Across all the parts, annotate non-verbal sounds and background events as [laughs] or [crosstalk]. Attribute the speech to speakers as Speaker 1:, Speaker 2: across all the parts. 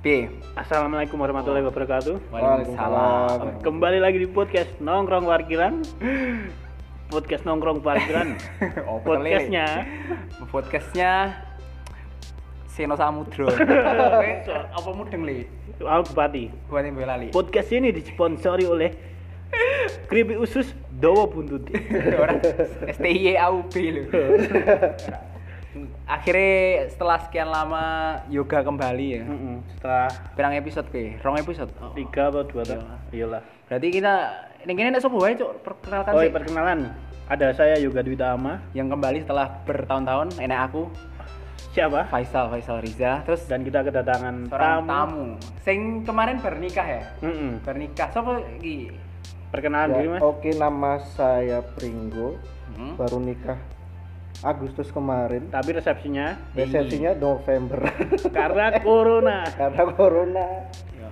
Speaker 1: P.
Speaker 2: Assalamualaikum warahmatullahi wabarakatuh.
Speaker 1: Oh. Waalaikumsalam.
Speaker 2: Kembali lagi di podcast Nongkrong Parkiran. Podcast Nongkrong
Speaker 1: [laughs]
Speaker 2: Parkiran.
Speaker 1: Oh, betul, Lele.
Speaker 2: Podcastnya
Speaker 1: Podcastnya Seno [laughs] Samudro. Apa mudeng li?
Speaker 2: Al Bupati.
Speaker 1: Buat yang bela li.
Speaker 2: Podcast ini disponsori oleh Kripi Usus Dowo Buntut.
Speaker 1: [laughs] Orang STI AUB [laughs] lho. Akhirnya setelah sekian lama yoga kembali ya.
Speaker 2: Mm-mm, Setelah
Speaker 1: Pirang episode P? Rong episode. Oh.
Speaker 2: tiga atau dua tak? Iyalah.
Speaker 1: Berarti kita ini kene nek sopo wae cuk perkenalkan
Speaker 2: Oh,
Speaker 1: sih.
Speaker 2: perkenalan. Ada saya Yoga Dwi Tama.
Speaker 1: Yang kembali setelah bertahun-tahun enak aku
Speaker 2: Siapa?
Speaker 1: Faisal Faisal Riza terus
Speaker 2: Dan kita kedatangan
Speaker 1: seorang
Speaker 2: tamu.
Speaker 1: tamu. Sing kemarin bernikah ya?
Speaker 2: Mm-mm.
Speaker 1: Bernikah sopo iki?
Speaker 2: Perkenalan
Speaker 3: Ya,
Speaker 2: diri Mas.
Speaker 1: Oh.
Speaker 3: Oke, nama saya Pringgo,
Speaker 1: Hmm?
Speaker 3: baru nikah Agustus kemarin.
Speaker 2: Tapi resepsinya
Speaker 3: Resepsinya November [laughs]
Speaker 2: karena
Speaker 1: [laughs]
Speaker 2: corona.
Speaker 3: karena corona.
Speaker 1: Ya,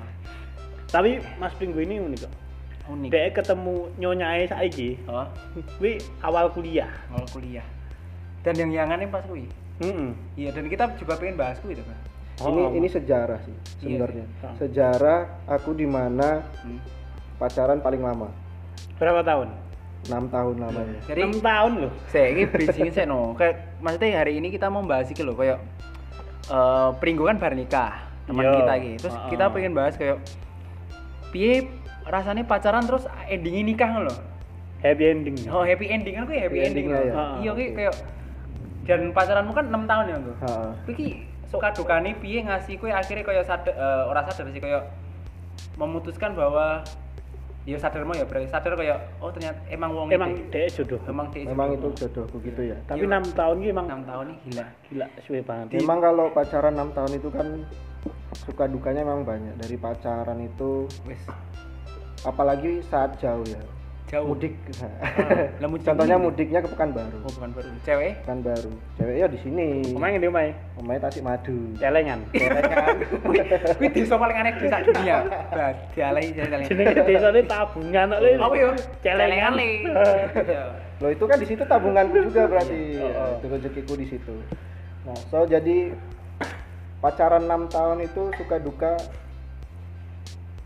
Speaker 2: Tapi Mas Pringgo ini unik kok.
Speaker 1: Unik.
Speaker 2: Dek ketemu nyonya saya saiki.
Speaker 1: Oh,
Speaker 2: Kuwi awal kuliah.
Speaker 1: awal kuliah. Dan yang yangannya pas kuwi.
Speaker 2: Heeh.
Speaker 1: Iya, dan kita juga pengen bahas kuwi itu kan.
Speaker 3: ini ini sejarah sih sebenarnya.
Speaker 2: Oh, Iya.
Speaker 3: Sejarah aku di mana
Speaker 1: Hmm.
Speaker 3: pacaran paling lama.
Speaker 2: berapa tahun?
Speaker 3: 6 tahun
Speaker 2: Iya.
Speaker 3: lamanya.
Speaker 1: Jadi
Speaker 2: 6 tahun loh.
Speaker 1: saya ini bridging saya no.
Speaker 2: Oh,
Speaker 1: Kayak maksudnya hari ini kita mau bahas iki loh kayak eh Pringgo kan bar nikah teman
Speaker 2: Iya.
Speaker 1: kita iki. Terus
Speaker 2: Heeh.
Speaker 1: kita pengen bahas kayak piye rasanya pacaran terus endingnya nikah ngono loh.
Speaker 2: Happy ending. ya?
Speaker 1: Oh, happy ending kan kuwi happy
Speaker 3: Happy
Speaker 1: ending.
Speaker 3: ending lah
Speaker 1: loh.
Speaker 3: ya.
Speaker 1: Heeh. Iya kuwi kayak dan pacaranmu kan 6 tahun ya, Nggo.
Speaker 3: Heeh.
Speaker 1: Kuwi ki sok kadukane piye ngasih kuwi akhirnya kayak sadar eh, ora sadar sih kayak memutuskan bahwa ya sadar mau ya berarti sadar kayak oh ternyata emang wong
Speaker 2: gitu. Emang iya.
Speaker 1: iki-
Speaker 2: dek jodoh.
Speaker 1: emang dia
Speaker 2: iya.
Speaker 3: Memang itu jodohku gitu ya.
Speaker 2: Tapi 6 tahun ini emang
Speaker 1: 6 tahun nih gila.
Speaker 2: gila suwe banget.
Speaker 3: Memang kalau pacaran 6 tahun itu kan suka dukanya memang banyak. Dari pacaran itu
Speaker 1: Wis
Speaker 3: apalagi saat jauh ya.
Speaker 1: jauh. Ah,
Speaker 3: Mudik.
Speaker 2: Ah,
Speaker 3: [laughs]
Speaker 1: Lah mudik.
Speaker 3: Contohnya mudiknya ke Pekanbaru.
Speaker 1: Oh, bukan baru. Cewek.
Speaker 3: Pekanbaru. Cewek ya di sini.
Speaker 2: Omah ngene omahe.
Speaker 3: Pemain Tasik Madu.
Speaker 2: Celengan.
Speaker 1: Kuwi kuwi desa paling aneh di sak dunia. Badalai jalan-jalan.
Speaker 2: [laughs] Jenenge desane tabungan kok.
Speaker 1: Apa ya? Iya. yo?
Speaker 2: Celengan.
Speaker 1: le.
Speaker 3: Loh itu kan di situ tabunganku juga berarti. Ya, Itu rezekiku di situ. Nah, so jadi pacaran 6 tahun itu suka duka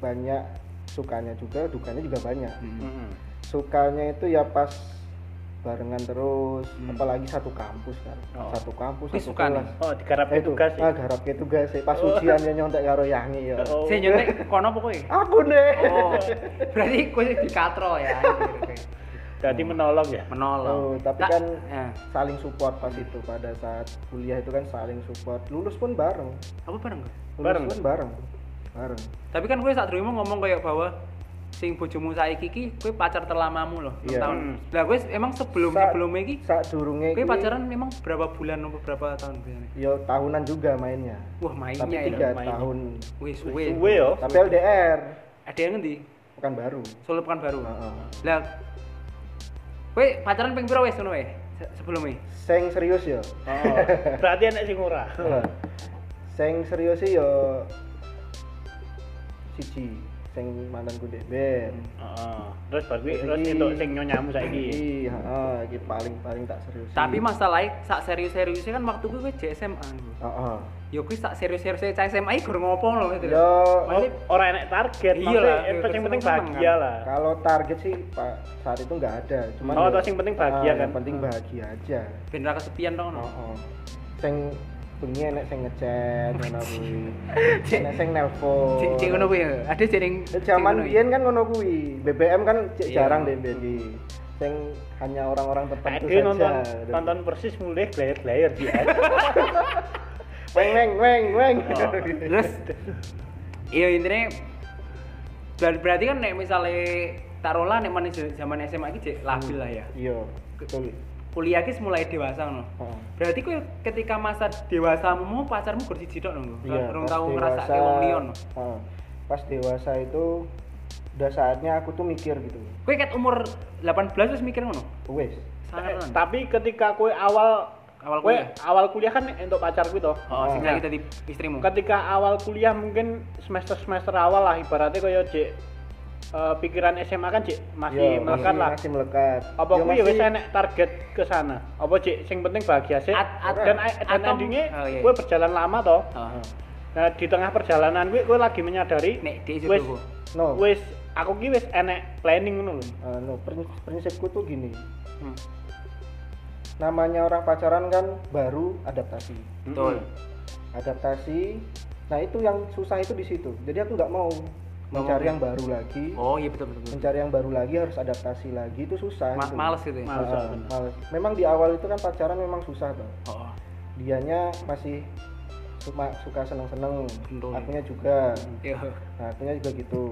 Speaker 3: banyak sukanya juga, dukanya juga banyak.
Speaker 1: Hmm.
Speaker 2: Heeh.
Speaker 3: Sukanya itu ya pas barengan terus, apalagi satu kampus kan.
Speaker 2: Oh.
Speaker 3: Satu kampus,
Speaker 1: Wih,
Speaker 3: satu
Speaker 1: suka nih.
Speaker 3: kelas.
Speaker 2: Oh, digarap
Speaker 3: Eh, itu
Speaker 2: tugas
Speaker 3: Ah,
Speaker 2: sih.
Speaker 3: garapke tugas sih. Pas ujian ya nyontek karo Yangi ya.
Speaker 2: [laughs] Oh.
Speaker 1: Saya nyontek kono pokoknya.
Speaker 3: Aku nih.
Speaker 1: Oh, [laughs] berarti gue di katrol ya.
Speaker 2: Jadi menolong ya.
Speaker 3: Oh,
Speaker 1: Menolong.
Speaker 3: tapi
Speaker 1: Tak-
Speaker 3: kan
Speaker 1: eh,
Speaker 3: saling support pas itu pada saat kuliah itu kan saling support. Lulus pun bareng.
Speaker 1: apa bareng gue?
Speaker 3: Lulus
Speaker 2: Bareng?
Speaker 3: pun bareng. Bareng.
Speaker 1: Tapi kan gue saat dulu mau ngomong kayak bahwa sing bojomu saiki iki gue pacar terlamamu loh, 6
Speaker 3: Iya.
Speaker 1: tahun.
Speaker 2: Hmm.
Speaker 1: Lah gue emang sebelum
Speaker 3: Sa-
Speaker 1: sebelumnya iki
Speaker 3: Saat
Speaker 2: ya
Speaker 3: durunge
Speaker 1: gue
Speaker 3: kuwi,
Speaker 1: pacaran memang berapa bulan atau berapa tahun biasanya?
Speaker 3: Ya tahunan juga mainnya.
Speaker 1: Wah, mainnya
Speaker 3: tapi
Speaker 1: ya.
Speaker 3: tiga
Speaker 2: mainnya. Oh,
Speaker 3: tahun.
Speaker 1: Wih, suwe.
Speaker 2: Suwe yo.
Speaker 3: Tapi LDR
Speaker 1: Ada yang ngendi?
Speaker 3: bukan baru.
Speaker 1: Solo pekan baru.
Speaker 3: Heeh.
Speaker 1: Lah kowe pacaran ping pira wis ngono wae? Se- Sebelum e.
Speaker 3: Seng serius ya.
Speaker 2: Oh. Berarti anak sing [laughs] ora.
Speaker 3: Seng serius sih ya siji seng mantanku dek ben.
Speaker 2: Heeh. Oh, Terus bar kuwi terus entuk sing nyonyamu saiki.
Speaker 3: Iya, heeh, iki paling-paling tak serius.
Speaker 1: Tapi masalahnya sak serius-seriusnya kan waktu gue gue SMA.
Speaker 3: heeh.
Speaker 1: Yo gue Ya sak serius-seriusnya cah SMA iki gur ngopo loh gitu.
Speaker 3: Ya
Speaker 2: Oh, Ora enak
Speaker 1: Iya
Speaker 2: target, maksudnya
Speaker 1: lah,
Speaker 2: yang
Speaker 1: iya,
Speaker 2: penting penting
Speaker 1: seneng-seneng
Speaker 2: bahagia
Speaker 1: kan.
Speaker 2: lah.
Speaker 3: Kalau target sih Pak saat itu nggak ada, cuman
Speaker 2: Oh,
Speaker 3: ya-
Speaker 2: terus yang penting bahagia
Speaker 3: Ah,
Speaker 2: kan?
Speaker 3: Yang penting bahagia aja.
Speaker 1: Ben ra kesepian to
Speaker 3: Oh,
Speaker 1: ngono.
Speaker 3: oh. Sing bengi enek sing ngechat
Speaker 2: [laughs]
Speaker 3: ngono kuwi. Enek sing nelpon.
Speaker 1: Cek cek ngono kuwi. ya. Ada jeneng
Speaker 3: Eh,
Speaker 1: ya.
Speaker 3: Zaman biyen kan ngono kuwi. BBM kan cek
Speaker 1: Iya.
Speaker 3: jarang deh jadi. Sing hanya orang-orang tertentu
Speaker 2: Tadi
Speaker 3: saja.
Speaker 2: nonton nonton persis mulai player-player ya. dia.
Speaker 1: [laughs]
Speaker 3: Weng weng weng weng.
Speaker 2: Oh.
Speaker 3: [laughs]
Speaker 1: Terus Iya intinya ber- berarti kan nek misalnya taruhlah nek manis zaman SMA iki cek labil lah ya.
Speaker 3: Iya, betul.
Speaker 1: Kuliah iki mulai dewasa ngono.
Speaker 3: Oh.
Speaker 1: Berarti kowe ketika masa dewasamu pacarmu gur siji tok lho.
Speaker 3: Iya,
Speaker 1: Belum
Speaker 3: pas
Speaker 1: tau
Speaker 3: dewasa-
Speaker 1: ngrasake wong liya. no.
Speaker 3: Heeh. pas dewasa itu udah saatnya aku tuh mikir gitu.
Speaker 1: Kowe ket umur 18 wis mikir ngono.
Speaker 3: Wes. Eh,
Speaker 1: Sangat kan.
Speaker 2: Tapi ketika kue awal
Speaker 1: Awal
Speaker 2: kue
Speaker 1: kuliah.
Speaker 2: awal kuliah kan untuk pacar gue toh.
Speaker 1: Oh, sing
Speaker 2: Nah,
Speaker 1: lagi tadi istrimu.
Speaker 2: Ketika awal kuliah mungkin semester semester awal lah ibaratnya kaya cek eh, pikiran SMA kan cek masih
Speaker 3: Yo,
Speaker 2: melekat
Speaker 3: masih-
Speaker 2: lah.
Speaker 3: Masih melekat.
Speaker 2: Apa
Speaker 3: Yo,
Speaker 2: kuwi ya wis
Speaker 3: masih-
Speaker 2: enek target ke sana. Apa cek sing penting bahagia sih.
Speaker 1: At- at-
Speaker 2: dan dan
Speaker 1: atau-
Speaker 2: endingnya
Speaker 1: oh, iya.
Speaker 2: kue berjalan lama toh.
Speaker 1: Oh.
Speaker 2: Nah, di tengah perjalanan gue gue lagi menyadari
Speaker 1: Nek dia
Speaker 2: wis
Speaker 1: jodoh
Speaker 3: no
Speaker 2: wis aku ki wis enek planning ngono lho.
Speaker 3: eh, no Prin- prinsipku tuh gini
Speaker 1: Hmm.
Speaker 3: namanya orang pacaran kan baru adaptasi
Speaker 1: Betul.
Speaker 3: adaptasi nah itu yang susah itu di situ jadi aku nggak mau mencari yang baru lagi
Speaker 1: Oh iya betul betul. betul.
Speaker 3: mencari yang baru lagi harus adaptasi lagi itu susah
Speaker 1: Ma-
Speaker 3: gitu.
Speaker 1: males gitu ya.
Speaker 2: Males,
Speaker 3: Ah,
Speaker 2: bener.
Speaker 3: males. memang di awal itu kan pacaran memang susah tuh
Speaker 1: Oh.
Speaker 3: dianya masih suka suka seneng seneng
Speaker 1: Betul.
Speaker 3: akunya juga
Speaker 1: Iya.
Speaker 3: nah, akunya juga gitu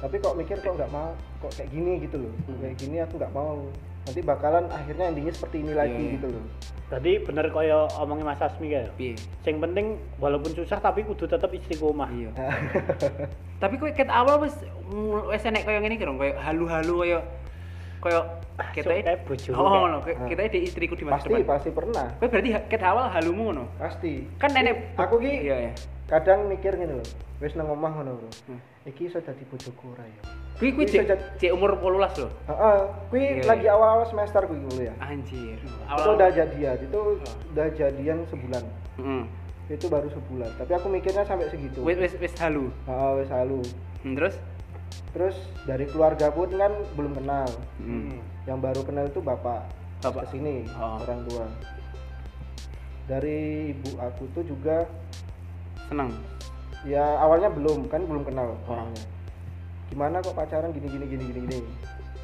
Speaker 3: tapi kok mikir kok nggak mau kok kayak gini gitu loh
Speaker 1: Hmm.
Speaker 3: kayak gini aku nggak mau nanti bakalan akhirnya endingnya seperti ini lagi
Speaker 1: Iya, iya.
Speaker 3: gitu loh
Speaker 2: Jadi bener koyo omongin Mas Asmi kayak.
Speaker 1: Piye?
Speaker 2: Sing penting walaupun susah tapi kudu tetap istiqomah.
Speaker 1: Iya. Tapi kowe ket awal wis mm, wis enek koyo ngene iki dong, koyo halu-halu koyo koyo
Speaker 2: kayak
Speaker 1: ketoke
Speaker 2: bojo
Speaker 1: Oh,
Speaker 2: kayak.
Speaker 1: ngono. Kita di istriku di masa
Speaker 3: pasti
Speaker 1: depan.
Speaker 3: pasti pernah
Speaker 1: Kowe berarti ha- ket awal halumu ngono.
Speaker 3: pasti
Speaker 1: Kan nenek
Speaker 3: aku ki
Speaker 1: Iya ya.
Speaker 3: kadang mikir gini loh wes nang omah ngono bro
Speaker 1: Hmm.
Speaker 3: iki iso dadi bojoku ora ya
Speaker 1: Kuwi kuwi
Speaker 3: Bisa
Speaker 1: cek
Speaker 3: jad-
Speaker 1: cek umur 18 loh.
Speaker 3: heeh
Speaker 1: Iya,
Speaker 3: kuwi lagi
Speaker 1: iya.
Speaker 3: awal-awal semester kuwi dulu ya
Speaker 1: Anjir.
Speaker 3: itu
Speaker 1: Awal.
Speaker 3: udah jadian itu udah jadian sebulan
Speaker 1: Heeh.
Speaker 3: itu baru sebulan tapi aku mikirnya sampai segitu
Speaker 1: Wis wis wis halu.
Speaker 3: heeh wes halu
Speaker 1: Hmm, Terus?
Speaker 3: terus dari keluarga pun kan belum kenal
Speaker 1: Hmm.
Speaker 3: yang baru kenal itu bapak
Speaker 1: Bapak.
Speaker 3: kesini
Speaker 1: Oh.
Speaker 3: orang tua dari ibu aku tuh juga
Speaker 1: Seneng.
Speaker 3: ya awalnya belum kan belum kenal
Speaker 1: Oh.
Speaker 3: orangnya gimana kok pacaran gini gini gini gini gini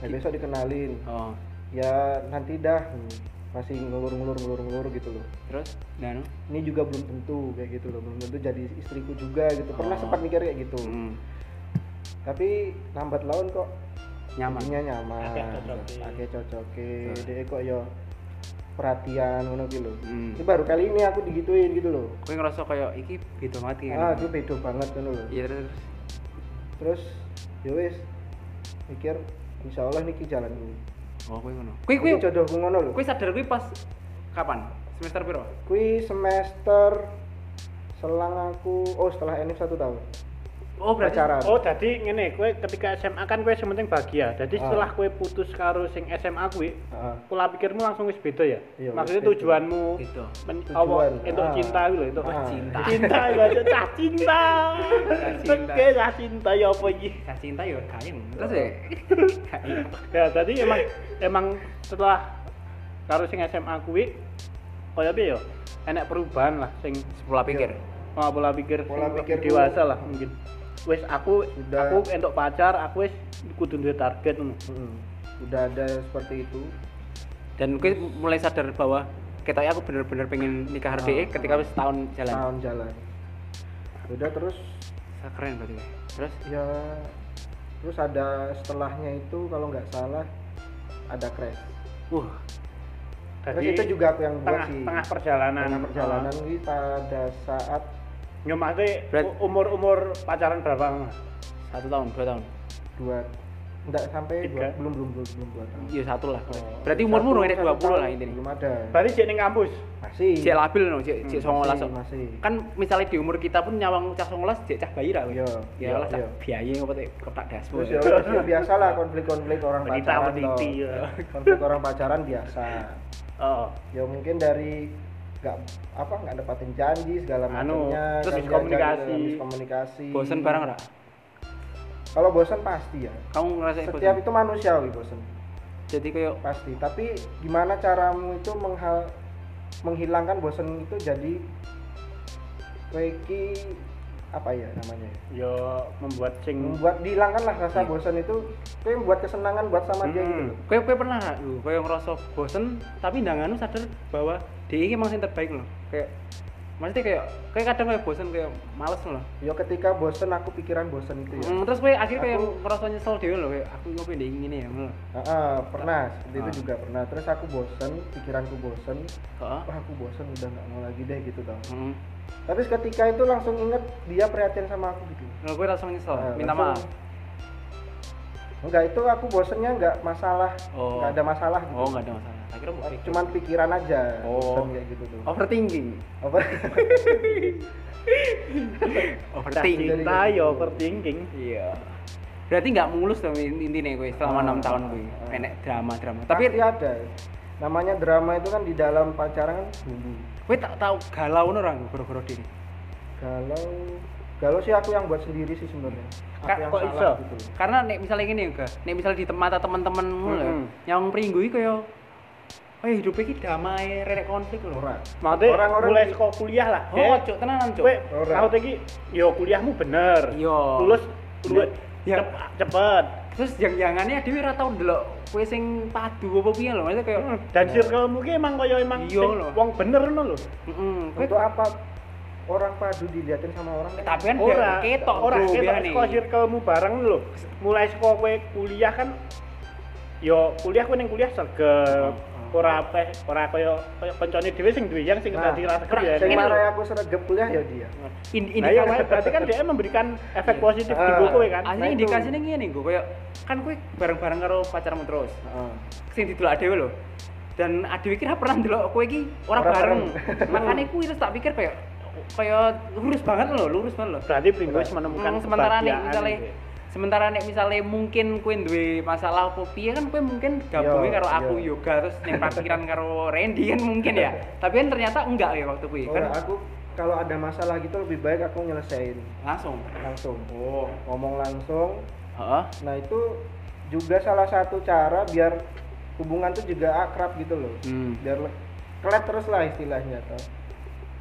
Speaker 3: nah, besok dikenalin
Speaker 1: Oh.
Speaker 3: ya nanti dah hmm, masih ngulur ngulur ngulur ngulur gitu loh
Speaker 1: Terus? Dan?
Speaker 3: ini juga belum tentu kayak gitu loh belum tentu jadi istriku juga gitu pernah
Speaker 1: Oh.
Speaker 3: sempat mikir kayak gitu
Speaker 1: Hmm.
Speaker 3: tapi lambat laun kok
Speaker 1: Nyaman.
Speaker 3: jadinya nyaman
Speaker 2: Agak cocoke.
Speaker 3: agak cocoke
Speaker 1: Betul.
Speaker 3: dia kok yo perhatian ngono gitu loh
Speaker 1: Hmm.
Speaker 3: ini baru kali ini aku digituin gitu loh
Speaker 1: Kowe ngerasa kayak iki beda mati
Speaker 3: ah itu beda banget ngono loh
Speaker 1: Iya terus.
Speaker 3: terus ya wis mikir insya Allah niki jalan dulu
Speaker 1: Oh, kowe ngono. Kowe kowe
Speaker 3: ini jodohku ngono loh
Speaker 1: kowe sadar kowe pas kapan? Semester piro?
Speaker 3: kui semester selang aku oh setelah ini satu tahun
Speaker 1: Oh, berarti
Speaker 3: pacaran
Speaker 2: Oh, jadi ngene, kowe ketika SMA kan kowe sementing bahagia. Jadi
Speaker 3: Ah.
Speaker 2: setelah kowe putus karo sing SMA kuwi,
Speaker 3: Ah,
Speaker 2: pola pikirmu langsung wis beda ya?
Speaker 3: Iya,
Speaker 2: Maksudnya
Speaker 3: wis beda.
Speaker 2: tujuanmu
Speaker 1: Gitu.
Speaker 2: men-
Speaker 3: Tujuan.
Speaker 2: apa itu
Speaker 3: Ah.
Speaker 2: cinta itu lho, itu
Speaker 3: Ah.
Speaker 1: Cinta.
Speaker 2: cinta
Speaker 1: [laughs]
Speaker 2: itu cah cinta.
Speaker 1: Cah cinta.
Speaker 2: Oke, cah cinta ya apa iki?
Speaker 1: Cah cinta yo kayem. Terus ya. Kayem.
Speaker 2: Ya, tadi emang emang setelah karo sing SMA kuwi koyo piye ya? Enek perubahan lah sing
Speaker 1: Pola pikir.
Speaker 2: Oh, pola pikir
Speaker 3: Pola
Speaker 2: sing lebih
Speaker 3: pikirku.
Speaker 2: dewasa lah mungkin. Wis aku
Speaker 3: Sudah.
Speaker 2: aku entuk pacar, aku wis kudu duwe target ngono.
Speaker 3: mm-mm. udah ada seperti itu
Speaker 1: Dan kowe mulai sadar bahwa ketoknya aku bener-bener pengen nikah harus
Speaker 3: Ah,
Speaker 1: ketika wis tahun jalan.
Speaker 3: tahun jalan udah terus
Speaker 1: Keren berarti kowe. Terus
Speaker 3: ya terus ada setelahnya itu kalau nggak salah ada crash
Speaker 1: uh
Speaker 3: terus
Speaker 2: Jadi
Speaker 3: itu juga aku yang buat
Speaker 2: tengah,
Speaker 3: sih
Speaker 2: tengah perjalanan.
Speaker 3: Tengah perjalanan ini pada saat
Speaker 2: Oh. Yo maksudnya
Speaker 1: Berat-
Speaker 2: umur-umur pacaran berapa? Mas?
Speaker 1: satu tahun, dua tahun.
Speaker 3: dua nggak sampai dua,
Speaker 2: Tiga.
Speaker 3: belum belum belum belum dua tahun Oh,
Speaker 1: Iya satu lah. Berarti umurmu rong enek 20
Speaker 3: Satu
Speaker 1: lah
Speaker 3: tahun
Speaker 1: intinya.
Speaker 3: belum ada
Speaker 2: Berarti jadi ning kampus.
Speaker 3: masih
Speaker 1: Cek labil no, cek cek
Speaker 3: Hmm,
Speaker 1: songolas.
Speaker 3: masih,
Speaker 1: kok.
Speaker 3: masih.
Speaker 1: Kan misalnya di umur kita pun nyawang cah songolas cek cah bayi lah. kowe.
Speaker 3: Iya,
Speaker 1: Ya
Speaker 3: iya,
Speaker 1: lah cah
Speaker 3: iya.
Speaker 1: biaya ngopo teh kotak dasmu.
Speaker 3: terus ya udah, ya biasa lah konflik-konflik orang
Speaker 2: Wanita
Speaker 3: pacaran toh.
Speaker 2: meniti. ya.
Speaker 3: konflik orang pacaran biasa
Speaker 2: Oh.
Speaker 3: ya mungkin dari nggak apa nggak dapatin janji segala
Speaker 2: Anu,
Speaker 3: macamnya
Speaker 2: terus
Speaker 3: kan
Speaker 2: miskomunikasi.
Speaker 3: diajarin, miskomunikasi
Speaker 1: Bosen bareng ora?
Speaker 3: kalau bosan pasti ya
Speaker 1: Kamu ngerasa
Speaker 3: setiap itu manusiawi bosan
Speaker 1: Jadi kayak
Speaker 3: pasti tapi gimana caramu itu menghal menghilangkan bosan itu jadi reiki apa ya namanya ya?
Speaker 2: Yo membuat sing
Speaker 3: membuat dihilangkan lah
Speaker 1: Hmm. Iya.
Speaker 3: rasa
Speaker 1: Hmm.
Speaker 3: bosan itu kayak membuat kesenangan buat sama dia
Speaker 2: Mm-mm.
Speaker 3: gitu loh
Speaker 1: kowe kowe pernah gak lu kowe ngerasa bosen tapi ndanganu sadar bahwa dia ini emang sing terbaik loh. Kayak maksudnya kayak kayak kadang kayak bosen kayak males loh.
Speaker 3: yo ketika bosan aku pikiran bosan itu ya
Speaker 1: Mm, terus kowe akhirnya kayak
Speaker 3: Aku-
Speaker 1: ngerasa nyesel dhewe loh kayak aku kok pengen ngene ya ngono.
Speaker 3: Heeh, pernah seperti itu
Speaker 1: Ah.
Speaker 3: juga pernah terus aku bosen pikiranku bosen
Speaker 1: Heeh.
Speaker 3: wah aku bosen udah nggak mau lagi deh gitu tau
Speaker 1: Heeh.
Speaker 3: tapi ketika itu langsung inget dia perhatian sama aku gitu
Speaker 1: Lalu gue langsung nyesel,
Speaker 3: Nah,
Speaker 1: minta maaf.
Speaker 3: langsung- enggak itu aku bosennya enggak masalah
Speaker 1: Oh.
Speaker 3: enggak ada masalah gitu
Speaker 1: Oh, enggak ada masalah. Akhirnya mau pikir.
Speaker 3: cuman pikiran aja
Speaker 1: Oh.
Speaker 3: bosen kayak gitu tuh
Speaker 1: overthinking.
Speaker 3: apa
Speaker 2: cah
Speaker 1: Overthinking.
Speaker 2: cinta yo overthinking.
Speaker 1: Iya. Berarti nggak mulus dong intinya gue selama
Speaker 3: Ah,
Speaker 2: Oh.
Speaker 1: enam tahun gue
Speaker 3: ah.
Speaker 1: enek drama-drama.
Speaker 3: [laughs] tapi
Speaker 1: Tapi
Speaker 3: ada namanya drama itu kan di dalam pacaran kan bumbu
Speaker 1: gue tak tahu galau nih orang gara-gara diri
Speaker 3: galau galau sih aku yang buat sendiri sih sebenarnya
Speaker 1: Kak,
Speaker 3: aku yang
Speaker 2: kok
Speaker 3: salah
Speaker 2: iso?
Speaker 3: gitu loh.
Speaker 1: karena nek misalnya gini ya nek misalnya di tempat teman-teman mulu
Speaker 2: Mm-mm.
Speaker 1: yang peringgu iki kaya eh hidup iki damai rerek konflik lho
Speaker 3: Orang.
Speaker 2: Maksudnya
Speaker 3: Orang-orang
Speaker 2: mulai
Speaker 3: di-
Speaker 2: sekolah kuliah lah.
Speaker 1: oh cuk tenanan cuk
Speaker 2: Eh, Kowe
Speaker 3: Ora.
Speaker 2: tahu iki yo kuliahmu bener.
Speaker 1: Iya.
Speaker 2: Lulus lu
Speaker 1: Ya.
Speaker 2: cep- cepet.
Speaker 1: terus yang jangannya dia ora tau ndelok kowe sing padu apa piye lho maksudnya kaya
Speaker 2: Dan circlemu ki emang koyo emang
Speaker 1: Iya
Speaker 2: sing
Speaker 1: lho.
Speaker 2: wong bener ngono lho.
Speaker 1: heeh kowe
Speaker 3: untuk apa orang padu diliatin sama orang kan
Speaker 1: tapi kan
Speaker 2: Ora,
Speaker 1: biar ketok
Speaker 2: ora
Speaker 1: bro,
Speaker 2: ketok
Speaker 1: biar nih.
Speaker 2: sekolah circlemu bareng lho. Mulai sekolah kowe kuliah kan yo kuliah kowe ning kuliah
Speaker 1: Oh,
Speaker 2: sergap. Ora apa ora koyo koyo koncone dhewe sing duwe yang sing
Speaker 3: Nah,
Speaker 2: dadi rasa
Speaker 1: ora,
Speaker 2: ya.
Speaker 1: Ini
Speaker 3: yang marah
Speaker 1: loh.
Speaker 3: aku sergap kuliah ya dia
Speaker 1: In,
Speaker 2: Nah, iya,
Speaker 1: indikasi-
Speaker 2: berarti kan dia memberikan efek
Speaker 1: Iya.
Speaker 2: positif di
Speaker 3: Ah.
Speaker 2: kowe kan.
Speaker 1: Aslinya
Speaker 3: Nah, itu.
Speaker 1: indikasinya ngene gue kayak kan kowe bareng-bareng karo pacarmu terus.
Speaker 3: Heeh.
Speaker 1: Sing didelok dhewe lho. Dan adewe kira pernah ndelok kowe iki ora
Speaker 3: Ora
Speaker 1: bareng. [laughs]
Speaker 3: bareng.
Speaker 1: Makanya kuwi terus tak pikir kayak kayak lurus banget lho, lurus banget lho.
Speaker 2: Berarti Pringgo menemukan
Speaker 1: Hmm, sementara nih
Speaker 2: kebahagiaan
Speaker 1: misalnya
Speaker 2: gitu ya.
Speaker 1: sementara nih misalnya mungkin kowe duwe masalah apa piye kan kowe mungkin gabungnya
Speaker 3: Iya,
Speaker 1: karo aku
Speaker 3: iya.
Speaker 1: yoga terus ning parkiran karo Randy kan mungkin ya. Tapi kan ternyata enggak ya waktu kuwi kan
Speaker 3: Orang, Iya aku kalau ada masalah gitu lebih baik aku nyelesain
Speaker 1: langsung.
Speaker 3: langsung
Speaker 1: Oh.
Speaker 3: ngomong langsung
Speaker 1: Heeh.
Speaker 3: nah itu juga salah satu cara biar hubungan tuh juga akrab gitu loh
Speaker 1: Hmm.
Speaker 3: biar le- kelet terus lah istilahnya tuh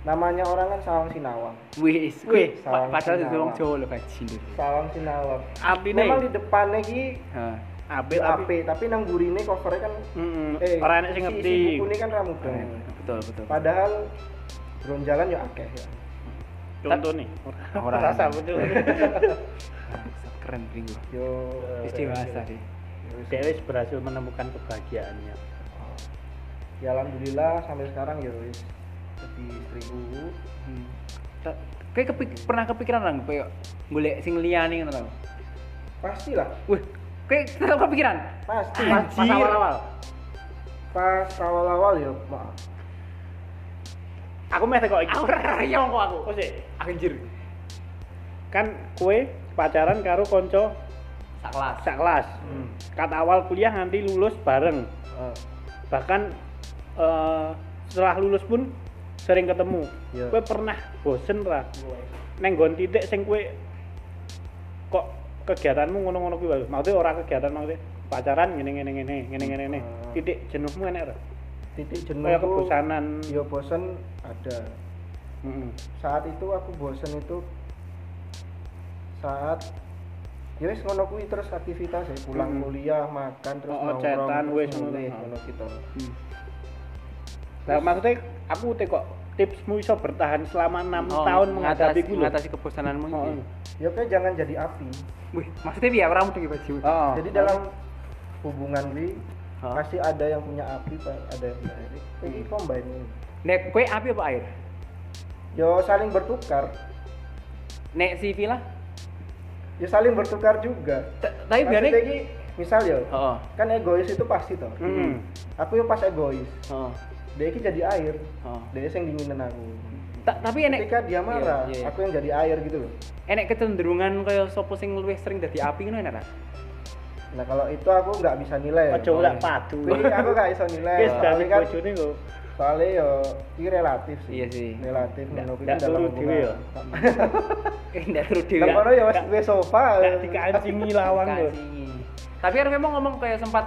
Speaker 3: namanya orang kan sawang sinawang
Speaker 1: Wis,
Speaker 3: Wih,
Speaker 1: kuwi pa-
Speaker 3: salam
Speaker 1: padahal
Speaker 3: kenal.
Speaker 1: itu wong Jawa lho bajingan.
Speaker 3: sawang sinawang
Speaker 2: Artine
Speaker 3: memang di depannya ki
Speaker 1: Heeh.
Speaker 2: apik apik.
Speaker 3: ape tapi nang burine covernya kan
Speaker 2: Heeh. Ora enek sing
Speaker 3: si-
Speaker 2: ngerti. Nah, iya.
Speaker 3: si buku ini kan ramudeng
Speaker 2: Hmm.
Speaker 1: Betul, betul.
Speaker 3: padahal drone jalan ya akeh ya
Speaker 2: Contoh nih.
Speaker 1: Ora
Speaker 2: Rasa betul.
Speaker 1: Keren minggu.
Speaker 3: yo
Speaker 1: Wis dewasa sih.
Speaker 2: Dia wis berhasil menemukan kebahagiaannya.
Speaker 3: ya alhamdulillah sampai sekarang ya wis jadi seribu
Speaker 1: Hmm. Ta- Kayak kepik pernah kepikiran nang koyo golek sing liyane ngono lho.
Speaker 3: pastilah
Speaker 1: Wih, kayak tetep kepikiran.
Speaker 3: pasti
Speaker 2: Pas pas
Speaker 1: Anjir.
Speaker 2: awal-awal.
Speaker 3: pas awal-awal ya maaf
Speaker 2: Aku meh teko iki.
Speaker 1: Aku reyong kok aku.
Speaker 2: Aku sih
Speaker 1: Anjir.
Speaker 2: kan kue pacaran karo konco
Speaker 1: Sak kelas.
Speaker 2: sak kelas.
Speaker 3: Hmm.
Speaker 2: Kat awal kuliah nanti lulus bareng.
Speaker 3: Ah,
Speaker 2: Bahkan eh, setelah lulus pun sering ketemu.
Speaker 3: Iya.
Speaker 2: Kue pernah bosen ra? Neng nggon titik sing kue kok kegiatanmu ngono-ngono kuwi wae. Maksudnya ora kegiatan maksudnya pacaran ngene ngene ngene ngene ngene ngene.
Speaker 3: Hmm.
Speaker 2: Titik jenuhmu enek ora? Kaya
Speaker 3: titik jenuhku
Speaker 2: kebosanan.
Speaker 3: ya bosen ada
Speaker 2: Heeh.
Speaker 3: saat itu aku bosen itu saat ya wis ngono kuwi terus aktivitas ya pulang
Speaker 2: Mm-mm.
Speaker 3: kuliah makan terus
Speaker 2: Oh, cetan, wis ngono. ya.
Speaker 3: mulih, ngono gitu
Speaker 2: Lah maksudnya aku teh kok tipsmu iso bertahan selama 6
Speaker 1: Oh,
Speaker 2: tahun
Speaker 1: ngatasi-
Speaker 2: menghadapi kuwi.
Speaker 1: ngatasi kebosananmu
Speaker 2: Oh.
Speaker 1: iki.
Speaker 3: ya kayak jangan jadi api
Speaker 1: Wih, maksudnya piye ora mudeng baju.
Speaker 2: Heeh.
Speaker 3: jadi dalam hubungan ini
Speaker 2: Ah.
Speaker 1: Hah?
Speaker 3: pasti ada yang punya api pa- ada yang punya air ini
Speaker 2: Mm.
Speaker 3: combine ini.
Speaker 1: Nek kowe api apa air?
Speaker 3: ya saling bertukar
Speaker 1: Nek si Vila?
Speaker 3: ya saling bertukar juga
Speaker 1: T- Tapi Oh,
Speaker 3: Maksudnya
Speaker 1: biarin.
Speaker 3: ini, misal ya
Speaker 2: Ah.
Speaker 1: Heeh.
Speaker 3: kan egois itu pasti toh
Speaker 2: Heeh.
Speaker 3: aku yang pas egois
Speaker 1: Heeh.
Speaker 3: dia ini jadi air
Speaker 1: Heeh.
Speaker 3: dia yang dinginin aku
Speaker 1: oh. Ta- Tapi enek
Speaker 3: ketika dia marah
Speaker 1: Iya, iya.
Speaker 3: aku yang jadi air gitu loh
Speaker 1: enek kecenderungan kaya sapa sing luwih sering dadi api ngono enak ra?
Speaker 3: nah kalau itu aku nggak bisa nilai
Speaker 1: Oh,
Speaker 2: Aja
Speaker 3: Kuwi
Speaker 2: ora padu.
Speaker 3: aku nggak
Speaker 1: [laughs]
Speaker 3: bisa nilai
Speaker 2: Wis dadi
Speaker 3: soalnya kan
Speaker 2: bojone kok.
Speaker 3: soalnya yo ini relatif sih
Speaker 1: Iya sih.
Speaker 3: relatif
Speaker 2: Nggak-
Speaker 3: menurut
Speaker 2: nggak
Speaker 3: dalam
Speaker 2: turu dhewe
Speaker 3: [laughs] hubungan
Speaker 2: ya.
Speaker 1: Eh ndak terus dhewe.
Speaker 3: Lah kono ya wis
Speaker 2: Nggak-
Speaker 3: duwe sofa.
Speaker 2: Nggak dikancingi lawang lho.
Speaker 1: Dikasih. Tapi kan memang ngomong kayak sempat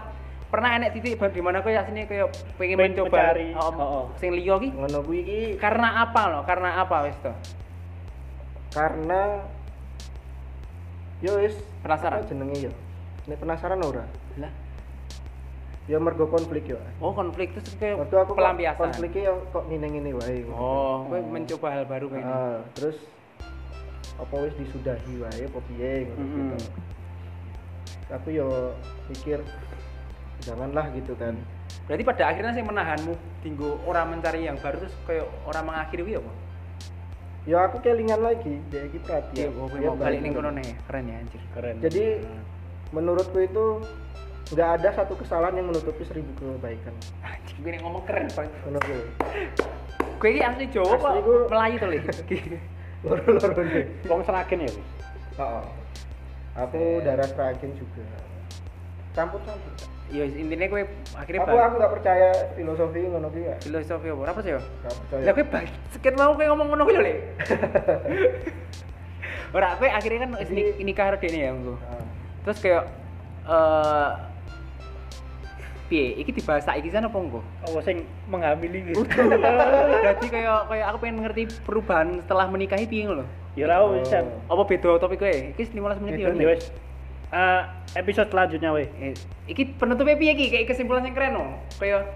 Speaker 1: pernah enek titik di mana kayak sini kayak pengen
Speaker 2: Pengen
Speaker 1: mencoba
Speaker 2: mencari.
Speaker 1: Oh,
Speaker 2: Oh.
Speaker 1: sing liya ki
Speaker 3: Ngono kuwi iki
Speaker 1: karena apa loh? Karena apa wis to?
Speaker 3: karena yo wis
Speaker 1: Penasaran?
Speaker 3: apa jenenge yo. Nek penasaran ora?
Speaker 1: Lah,
Speaker 3: Ya mergo konflik yo.
Speaker 1: oh konflik terus kayak
Speaker 3: Mergo aku kok
Speaker 1: pelampiasan.
Speaker 3: konfliknya yo kok ngene-ngene wae.
Speaker 1: Oh, gue mencoba hal baru kayak ini.
Speaker 3: Ah, terus apa wis disudahi wae apa piye ngono
Speaker 2: Mm-mm.
Speaker 3: gitu. Aku yo pikir janganlah gitu kan.
Speaker 1: Berarti pada akhirnya sih menahanmu tinggu orang mencari yang baru terus kayak orang mengakhiri kuwi ya, apa?
Speaker 3: Yo aku kelingan lagi, dia iki
Speaker 1: Iya,
Speaker 3: perhatian.
Speaker 1: oh, gue
Speaker 3: Dia
Speaker 1: mau balik ning
Speaker 3: gitu.
Speaker 1: kono nih. Keren ya anjir.
Speaker 2: Keren.
Speaker 3: Jadi menurutku itu nggak ada satu kesalahan yang menutupi seribu kebaikan.
Speaker 1: Anjir, gue nih ngomong keren banget.
Speaker 3: Menurutku. [laughs]
Speaker 1: Gue ini asli Jawa
Speaker 3: Asli
Speaker 1: kok
Speaker 3: gue-
Speaker 1: Melayu [laughs] tuh lih.
Speaker 3: Loro-loro nih.
Speaker 2: wong Seragen ya wis.
Speaker 1: Iya.
Speaker 3: Oh, aku darah Seragen juga. campur-campur.
Speaker 1: ya intinya kowe akhirnya
Speaker 3: Aku
Speaker 1: bal-
Speaker 3: aku gak percaya filosofi ngono kuwi ya.
Speaker 1: filosofi apa apa sih ya
Speaker 3: Gak percaya.
Speaker 1: lah kowe bal- sekian mau kowe ngomong ngono kuwi lho le [laughs] ora kowe akhirnya kan wis ni- nikah karo dekne ya engko
Speaker 3: Nah,
Speaker 1: terus kayak eh piye iki dibahas saiki sana apa engko
Speaker 2: apa Oh, sing menghamili gitu
Speaker 1: jadi kayak kayak aku pengen ngerti perubahan setelah menikahi piye ngono lho.
Speaker 2: [laughs] ya ra wis Sam.
Speaker 1: apa beda topik kowe iki 15 menit ya
Speaker 2: Ya wis Eh, episode selanjutnya weh
Speaker 1: Eh, iki penutupnya piye iki kayak kesimpulan yang keren no kayak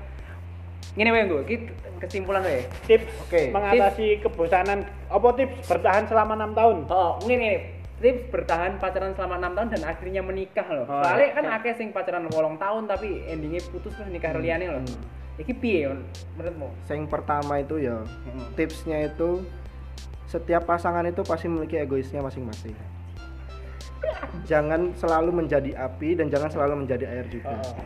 Speaker 1: ngene wae engko iki kesimpulan wae
Speaker 2: tips
Speaker 3: Oke.
Speaker 2: mengatasi kebosanan apa tips bertahan selama enam tahun
Speaker 1: Oh, ngene ngene. Tips bertahan pacaran selama enam tahun dan akhirnya menikah loh.
Speaker 2: Oh,
Speaker 1: Soalnya
Speaker 2: iya.
Speaker 1: kan akeh sing pacaran wolong tahun tapi endingnya putus terus nikah hmm. liyane loh. Iki piye Yon? menurutmu?
Speaker 3: Yang pertama itu ya tipsnya itu setiap pasangan itu pasti memiliki egoisnya masing-masing. Jangan selalu menjadi api dan jangan selalu menjadi air juga.
Speaker 2: Heeh.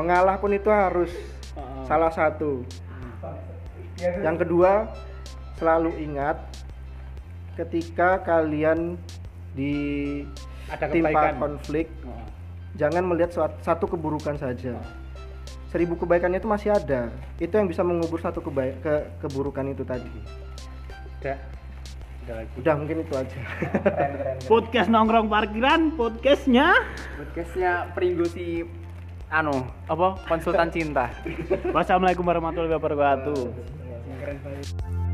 Speaker 3: Mengalah pun itu harus
Speaker 2: Heeh.
Speaker 3: salah satu. Yang kedua, selalu ingat ketika kalian di
Speaker 2: Ada
Speaker 3: timpa
Speaker 2: kebaikan.
Speaker 3: konflik,
Speaker 2: Heeh.
Speaker 3: jangan melihat suat- satu keburukan saja. Seribu kebaikannya itu masih ada. Itu yang bisa mengubur satu keba- ke- keburukan itu tadi.
Speaker 2: udah udah lagi
Speaker 3: Udah mungkin itu aja.
Speaker 2: podcast nongkrong parkiran podcastnya
Speaker 1: Podcastnya Pringgo si anu apa konsultan cinta.
Speaker 2: wassalamualaikum warahmatullahi wabarakatuh
Speaker 1: Keren banget.